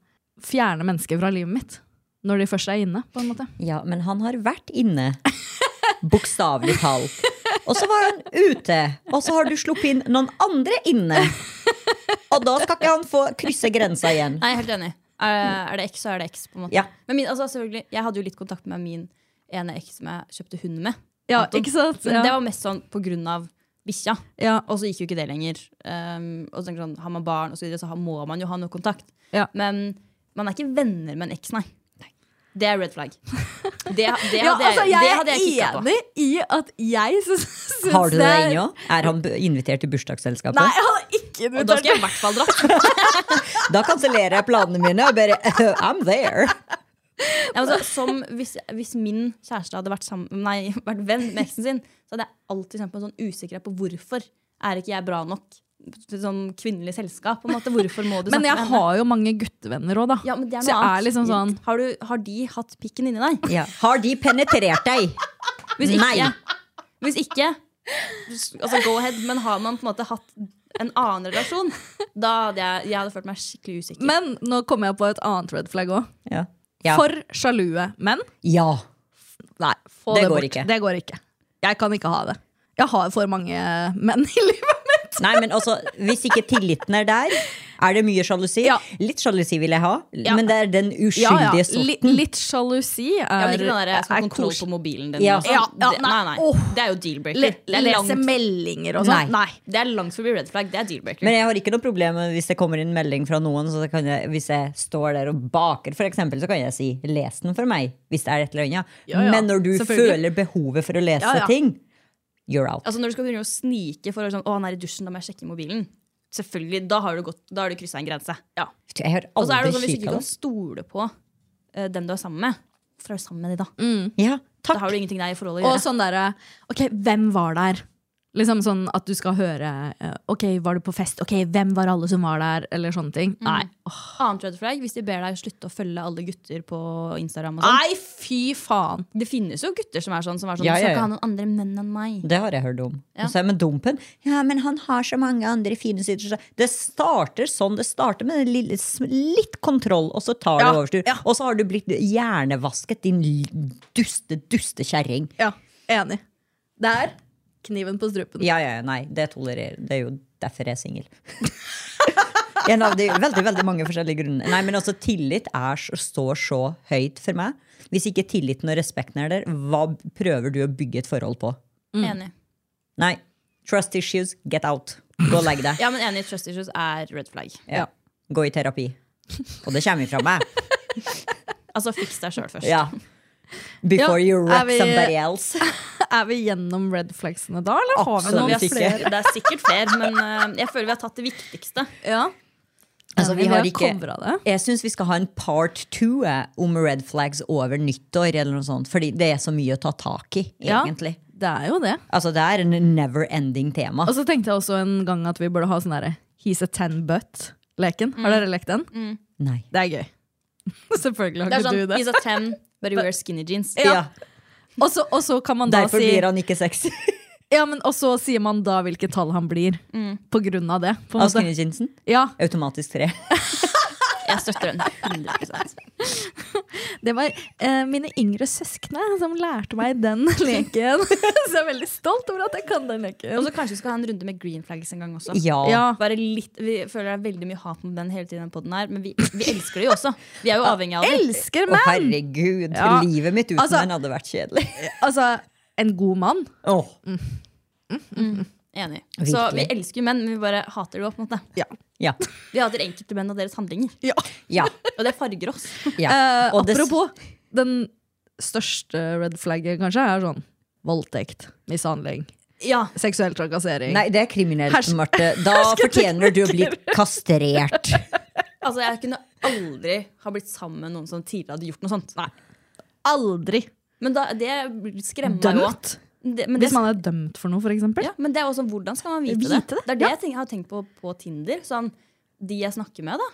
fjerne mennesker fra livet mitt. Når de først er inne, på en måte.
Ja, men han har vært inne. Bokstavelig talt. Og så var han ute. Og så har du sluppet inn noen andre inne. Og da skal ikke han få krysse grensa igjen.
Nei, jeg er helt enig. Er, er det eks, så er det eks. på en måte.
Ja.
Men min, altså, selvfølgelig, jeg hadde jo litt kontakt med min ene eks som jeg kjøpte hund med.
Ja,
Anton.
ikke sant?
Men
Ja.
det var mest sånn på grunn av bikkja.
Ja.
Og så gikk jo ikke det lenger. Um, og så tenker jeg sånn, Har man barn, og så, videre, så har- må man jo ha noe kontakt.
Ja.
Men man er ikke venner med en eks, nei. Det er red flag. Det, det, hadde,
Ja, altså,
jeg, det hadde jeg
jeg
kikka
er
på.
enig i at jeg syns syns
Har du det
er-
ennå? Er han b- invitert til bursdagsselskapet?
Nei, han er ikke
Og da skal jeg i
invitert.
hvert fall dra.
Da kansellerer jeg planene mine. Og bare, I'm there
Ja, altså, som hvis, hvis min kjæreste hadde vært, sammen, nei, vært venn med eksen sin, så hadde jeg alltid kjent på en sånn usikkerhet på hvorfor er ikke jeg bra nok til sånn kvinnelig selskap. på en måte. Hvorfor må du
Men
snakke
jeg
med henne?
har jo mange guttevenner òg, da.
ja, men det er
så
noe
jeg er
annet.
liksom sånn
har, du, har de hatt pikken inni deg?
ja. Har de penetrert deg?
Hvis ikke,
Nei.
Hvis ikke altså go ahead, men har man på en måte hatt en annen relasjon, da hadde jeg, jeg hadde følt meg skikkelig usikker.
Men nå kommer jeg på et annet red flag òg.
Ja. Ja.
For sjalue menn.
ja.
Nei, få
Det
det,
går
bort.
ikke.
Det går ikke. Jeg kan ikke ha det. Jeg har for mange menn i livet mitt.
Nei, men også, Hvis ikke tilliten er der, er det mye sjalusi.
Ja.
Litt sjalusi vil jeg ha,
Ja.
men det er den
Ja, ja.
uskyldige
Li,
sorten.
litt sjalusi er,
ja, men ikke den der, jeg skal
er
ha kontroll
kos-
på mobilen din.
Ja.
og sånn.
Ja, ja,
det, nei,
nei.
nei.
Åh.
det er jo deal-breaker.
Le,
Det er
lese
langt-
meldinger og sånn. Nei.
Det er langt forbi red flag. Det er deal-breaker.
Men jeg har ikke noe problem med hvis det kommer inn melding fra noen. Så kan jeg, hvis jeg står der og baker, for eksempel, så kan jeg si 'les den for meg'. Hvis det er et eller annet.
Ja, ja.
Men når du føler
Selvfølgelig.
behovet for å lese
Ja, ja.
ting, you're out.
Altså Når du skal begynne å snike for å sånn, å han er i dusjen, da må jeg sjekke mobilen. Selvfølgelig, Da har du, gått- da har du kryssa en grense. Ja.
Jeg har
Og så er det sånn
aldri
hvis du ikke
kika
kan
det.
stole på eh, dem du er sammen med, hvorfor er du sammen med de da?
Ja,
Da har
takk.
du ingenting der i forholdet å
Og
gjøre.
sånn derre Ok, hvem var der? Liksom sånn at du skal høre eh, Ok, var du på fest? Ok, hvem var alle som var der? Eller sånne ting. Nei. Åh,
Annet red flag hvis de ber deg slutte å følge alle gutter på Instagram. og sånn.
Nei, fy faen!
Det finnes jo gutter som er sånn. Som er sånn
Ja,
Du
ja,
skal
ja.
ikke ha noen andre menn enn meg.
Det har jeg hørt om.
Ja.
Og så er det med dumpen. Ja, men han har så mange andre fine sider. så- Det starter sånn. Det starter med den lille, sm- litt kontroll, og så tar
Ja,
det overstyr.
ja.
Og så har du blitt hjernevasket, din l- duste, duste kjerring.
Ja, enig. Det er kniven på strupen.
Ja, ja, ja, nei, det tolererer Det er jo derfor jeg er singel. en av de veldig veldig mange forskjellige grunnene. Nei, men altså, tillit er, så- står så høyt for meg. Hvis ikke tilliten og respekten er der, hva prøver du å bygge et forhold på?
Enig.
Nei. Trust issues, get out. Gå og legg deg.
Ja, men enig, trust issues er red flag.
Ja. Gå i terapi. Og det kommer fra meg.
Altså, fiks deg sjøl først.
Ja. Before
Ja,
you
er
wreck
vi-
somebody else.
Er vi gjennom red flagsene da, eller
Absolutt
har vi noen?
ikke.
Flere. Det er sikkert flere, men eh, jeg føler vi har tatt det viktigste.
Ja.
Altså, vi har ikke
covra det.
Jeg syns vi skal ha en part two eh, om red flags over nyttår, eller noe sånt. Fordi det er så mye å ta tak i,
Ja.
egentlig.
Det er jo det.
Altså, det er en never ending tema.
Og så tenkte jeg også en gang at vi burde ha sånn derre He's a ten butt-leken. Har dere lekt den?
Nei.
Det er gøy. Selvfølgelig har
Det er
ikke
sånn,
du det.
He's a 10, but he wears skinny jeans.
Ja.
Og så- Og så kan man da
Derfor
si
blir han ikke sexy.
Ja, men Og så sier man da hvilket tall han blir, på grunn av det. På en
Av
måte.
Skinny Jeansen.
Ja,
Automatisk tre.
Jeg støtter den 100
Det var eh, mine yngre søskne som lærte meg den leken. så jeg er veldig stolt over at jeg kan den
Og
leken.
så kanskje vi skal ha en runde med green flags en gang også.
Ja.
Ja.
Bare litt, vi føler det er veldig mye hat mot den hele tiden, på den her, men vi, vi elsker det jo også. Vi er jo avhengig av det.
Elsker
Å,
menn!
herregud.
Ja.
Livet mitt uten
Altså-
den hadde vært kjedelig.
Altså, en god mann.
Åh.
Enig.
Virkelig.
Så vi elsker jo menn, men vi bare hater det jo på en måte.
Ja.
Vi hater enkelte menn og deres handlinger.
Ja.
Og det farger oss.
ja.
Eh,
Og det-
apropos, den største red flagget kanskje er sånn voldtekt, mishandling,
Ja,
seksuell trakassering.
Nei, det er kriminelt,
Hers-
Marte. Da fortjener du å bli kastrert.
altså Jeg kunne aldri ha blitt sammen med noen som tidligere hadde gjort noe sånt.
Aldri
Men da, det skremmer meg jo.
dømt.
Det- Men, det-
Hvis man er dømt for noe, for eksempel.
ja, men det er også hvordan skal man vite,
Vite
det?
det,
Det er det
ja.
jeg tenker, har tenkt på på Tinder. Sånn, de jeg snakker med, da.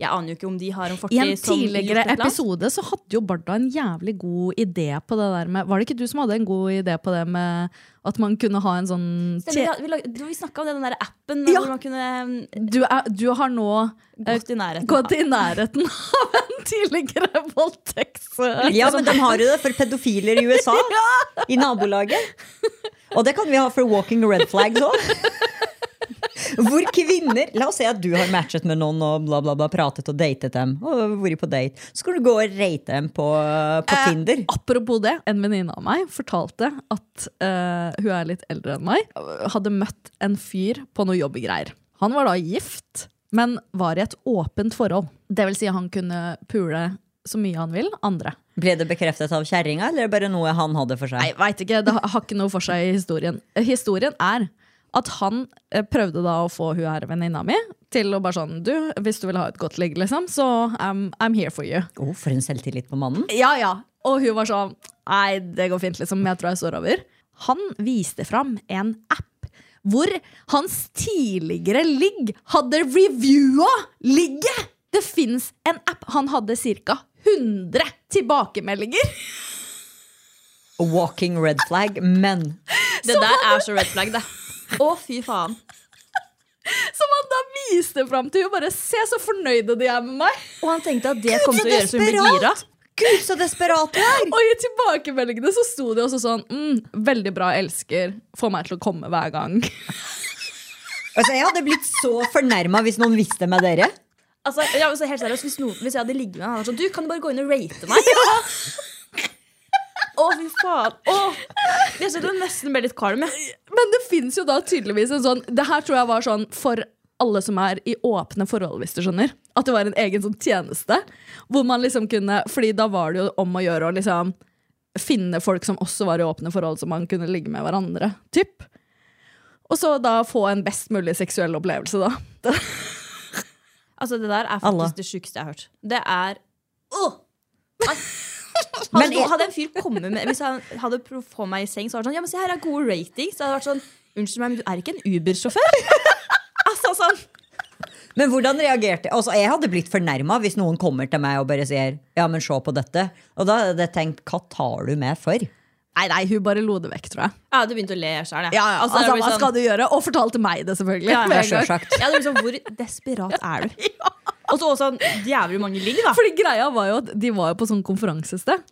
Jeg aner jo ikke om de har en fortid
I en
som gjort
tidligere
et eller annet.
episode så hadde jo Barda en jævlig god idé på det der med Var det ikke du som hadde en god idé på det med at man kunne ha en sånn
Stemmer, ja, vi lag- du, vi snakka om det, den der appen
Ja.
hvor man kunne mm,
du, er, du har nå
gått i nærheten.
gått i nærheten av en tidligere voldtekts...
Ja,
sånn.
men de har jo det for pedofiler i USA. I nabolaget. Og det kan vi ha for walking red flags òg. Hvor kvinner La oss si at du har matchet med noen og bla, bla, bla, pratet og datet dem. Og vært på date. Så skal du gå og rate dem på, på Tinder.
Apropos det, en venninne av meg fortalte at eh, hun er litt eldre enn meg, hadde møtt en fyr på noe jobbgreier. Han var da gift, men var i et åpent forhold. Det vil si han kunne pule så mye han vil andre.
Ble det bekreftet av kjerringa, eller er det bare noe han hadde for
Nei,
seg?
veit ikke, det har har ikke noe for seg i historien. Eh, Historien er at han eh, prøvde da å få hun her venninna mi til å bare sånn Du, hvis du vil ha et godt ligg, liksom, så I'm, I'm here for you.
Å, for en selvtillit på mannen.
Ja, ja. Og hun var sånn Nei, det går fint, liksom. Jeg tror jeg står over. Han viste fram en app hvor hans tidligere ligg hadde reviewa ligget! Det fins en app. Han hadde ca. 100 tilbakemeldinger.
Walking red flag, men
Det der er så red flag, det. Å, fy faen.
Som han da viste fram til hun Bare se så fornøyde de er med meg!
Og han tenkte at det kom til å gjøre så hun ble gira.
Gud, så desperat du er!
Og i tilbakemeldingene så sto det også sånn mm, Veldig bra, elsker. Får meg til å komme hver gang.
Altså, jeg hadde blitt så fornærma hvis noen visste med dere.
Altså, ja, men så helt seriøst, hvis, noen, hvis jeg hadde ligget med han, hadde vært sånn Du, kan du bare gå inn og rate meg? Å, fy faen. Åh. Jeg syns du nesten ble litt kvalm. jeg.
Men det fins jo da tydeligvis en sånn Det her tror jeg var sånn for alle som er i åpne forhold, hvis du skjønner. At det var en egen sånn tjeneste. Hvor man liksom kunne Fordi da var det jo om å gjøre å liksom finne folk som også var i åpne forhold, som man kunne ligge med hverandre. Typ. Og så da få en best mulig seksuell opplevelse, da.
Altså, det der er faktisk
Alle.
det sjukeste jeg har hørt. Det er Åh! Hadde,
Men
noen-
jeg-
hadde en fyr kommet med Hvis han hadde prøvd å få meg i seng, så hadde han sånn Ja, men se her er gode ratings. Så hadde det vært sånn Unnskyld meg, men du er ikke en Uber-sjåfør? altså sånn
Men hvordan reagerte Altså, Jeg hadde blitt fornærma hvis noen kommer til meg og bare sier Ja, men se på dette. Og da hadde jeg tenkt, hva tar du med for?
Nei, nei, hun bare lo det vekk, tror jeg.
Jeg hadde begynt å le sjøl, jeg.
Altså,
det blir
hva
sånn-
skal du gjøre? Og fortalte meg det, selvfølgelig.
Ja, ja,
med en
Ja,
gang.
selvsagt.
Ja, det blir sånn, Hvor desperat er du? Og så også jævlig mange ligg, da.
Fordi greia var jo at de var jo på sånn konferansested.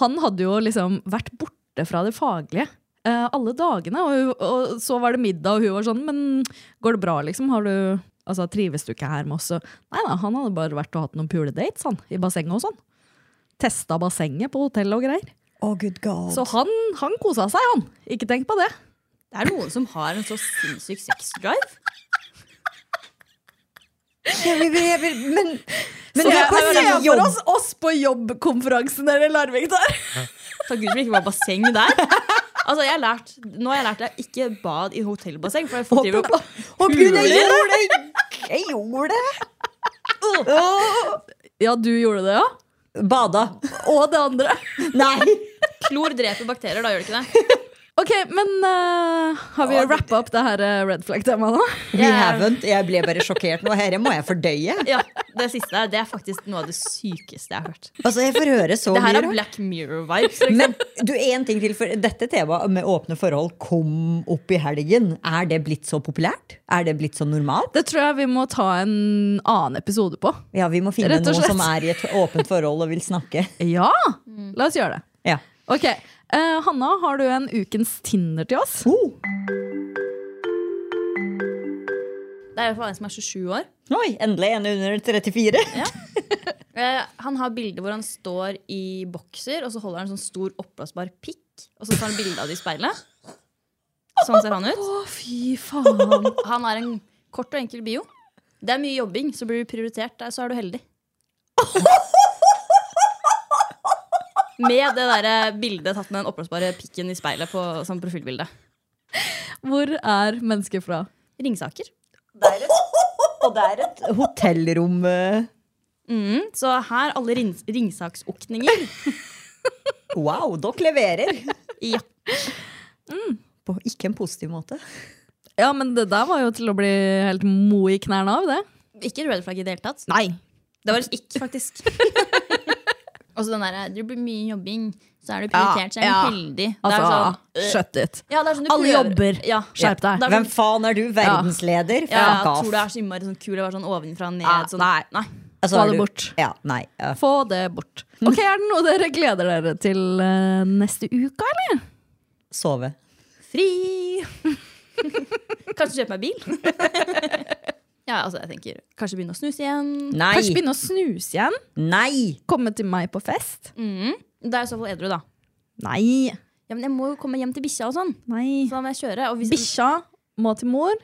Han hadde jo liksom vært borte fra det faglige eh, alle dagene. Og, hun- og så var det middag, og hun var sånn Men går det bra, liksom? Har du Altså, Trives du ikke her med oss? Og- Nei da, han hadde bare vært og hatt noen puledates han, i bassenget og sånn. Testa bassenget på hotellet og greier.
Å, good god.
Så han, han kosa seg, han. Ikke tenk på det.
Det er noen som har en så sinnssyk sexdrive.
jeg vil, jeg vil, men men
så
det
vi
er bare
ser for
jobb.
oss oss på jobbkonferansen der i Larvik der.
Takk Gud for det ikke var basseng der. Altså, jeg har lært, nå har jeg lært deg ikke bad i hotellbasseng. For jeg driver og
Å, Gud, jeg gjorde det! Jeg gjorde det!
Ja, du gjorde det, ja?
Bada.
Og det andre.
Nei.
klor dreper bakterier, da gjør det ikke det?
Ok, men eh, har vi rappa opp det her eh, red flag-temaet nå?
We haven't. Jeg ble bare sjokkert nå. Dette må jeg fordøye.
Ja, Det siste der, det er faktisk noe av det sykeste jeg har hørt.
Altså, jeg får høre så
Det her
mye.
er
rart.
Black Mirror-vibes. liksom.
Men du, en ting til, for dette temaet med åpne forhold kom opp i helgen. Er det blitt så populært? Er det blitt så normalt?
Det tror jeg vi må ta en annen episode på.
Ja, vi må finne
Rett og
noen
slett.
som er i et åpent forhold og vil snakke.
Ja!
Mm.
La oss gjøre det.
Ja.
Ok, eh, Hanna, har du en ukens Tinder til oss?
Oh,
Det er i hvert fall en som er 27 år.
oi, endelig en under 34.
Eh, han har bilde hvor han står i bokser, og så holder han en sånn stor oppblåsbar pikk. Og så tar han bilde av det i speilet. Sånn ser han ut.
Å, fy faen.
Han har en kort og enkel bio. Det er mye jobbing, så blir du prioritert. Der, så er du heldig. Med det der bildet tatt med den oppblåsbare pikken i speilet på sånn profilbilde.
Hvor er mennesket fra?
Ringsaker.
Og det er et hotellrom eh,
Mm, så her alle rings ringsaksokninger.
Wow, dere leverer!
Ja.
På ikke en positiv måte.
Ja, men det der var jo til å bli helt mo i knærne av, det.
Ikke red flagg i det hele tatt.
Nei.
Det var et ikke, faktisk. Og så den derre Det blir mye jobbing, så er du prioritert, så er
Ja,
du
ja.
heldig. Det er
Altså,
sånn, øh,
shut it.
ja, det er sånn du
Alle
prøver.
jobber.
Ja.
Skjerp deg.
Det er
Hvem
sånn-
faen er du? Verdensleder?
ja,
Fuck
jeg
off.
tror det er så innmari sånn kul å være sånn ovenfra og ned.
Ja,
sånn.
nei.
Altså,
Få
er
det
du-
bort.
Ja, nei. eh,
Få det bort. Ok, Er det noe dere gleder dere til eh, neste uke, eller?
Sove.
Fri! Kanskje kjøpe meg bil? Ja, altså jeg tenker Kanskje begynne å snuse igjen.
Nei!
Kanskje begynne å snuse igjen?
Nei!
Komme til meg på fest?
Da er jeg i så fall edru, da.
Nei.
Ja, men jeg må jo komme hjem til bikkja og sånn.
Nei.
Så da må jeg kjøre. Og hvis
Bikkja må til mor.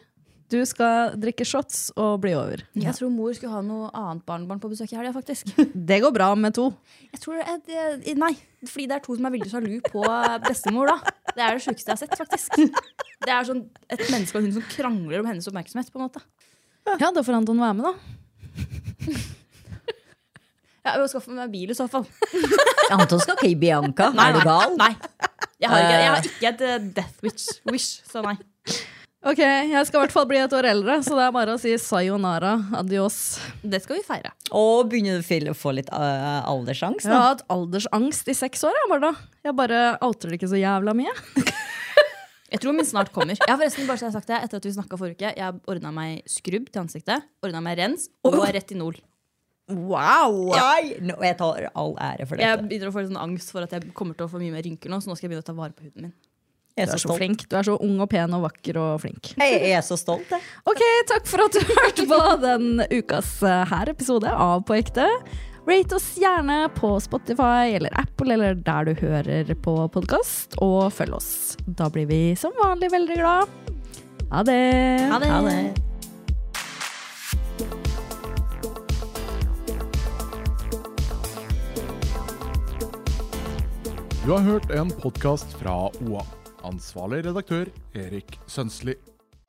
Du skal drikke shots og bli over.
Jeg tror mor skulle ha noe annet barnebarn på besøk i helga, faktisk.
Det går bra med to.
Jeg tror jeg, jeg, Nei, fordi det er to som er veldig sjalu på bestemor, da. Det er det sjukeste jeg har sett, faktisk. Det er sånn et menneske og hun som krangler om hennes oppmerksomhet, på en måte.
Ja, da får Anton være med, da.
Jeg må skaffe meg bil i så fall.
Anton skal ikke i Bianca. er du gal?
Nei. Jeg har ikke, jeg har ikke et eh, death wish, wish, så nei.
Ok, Jeg skal i hvert fall bli et år eldre, så det er bare å si sayonara. Adios.
Det skal vi feire.
Og begynner du å fylle- få litt uh, aldersangst?
Jeg har
Da?
hatt aldersangst i seks år. Jeg bare, jeg bare outer det ikke så jævla mye.
Jeg tror min snart kommer. Jeg har forresten bare så jeg har sagt det etter at vi snakket forrige uke. Jeg ordna meg skrubb til ansiktet, ordna meg rens og retinol.
Wow!
Nei, nå- jeg tar all ære for
Jeg
dette.
begynner å få litt sånn angst for at jeg kommer til å få mye mer rynker nå, så nå skal jeg begynne å ta vare på huden min.
Jeg er
Du
så
er så
stolt.
flink. Du er så ung og pen og vakker og flink.
Jeg jeg er så stolt, jeg.
Ok, Takk for at du hørte på den ukas eh, her episode av På ekte. Rate oss gjerne på Spotify eller Apple eller der du hører på podkast, og følg oss. Da blir vi som vanlig veldig glad. Ha det!
Ha det.
Du har hørt en podkast fra OA. Ansvarlig redaktør Erik Sønsli.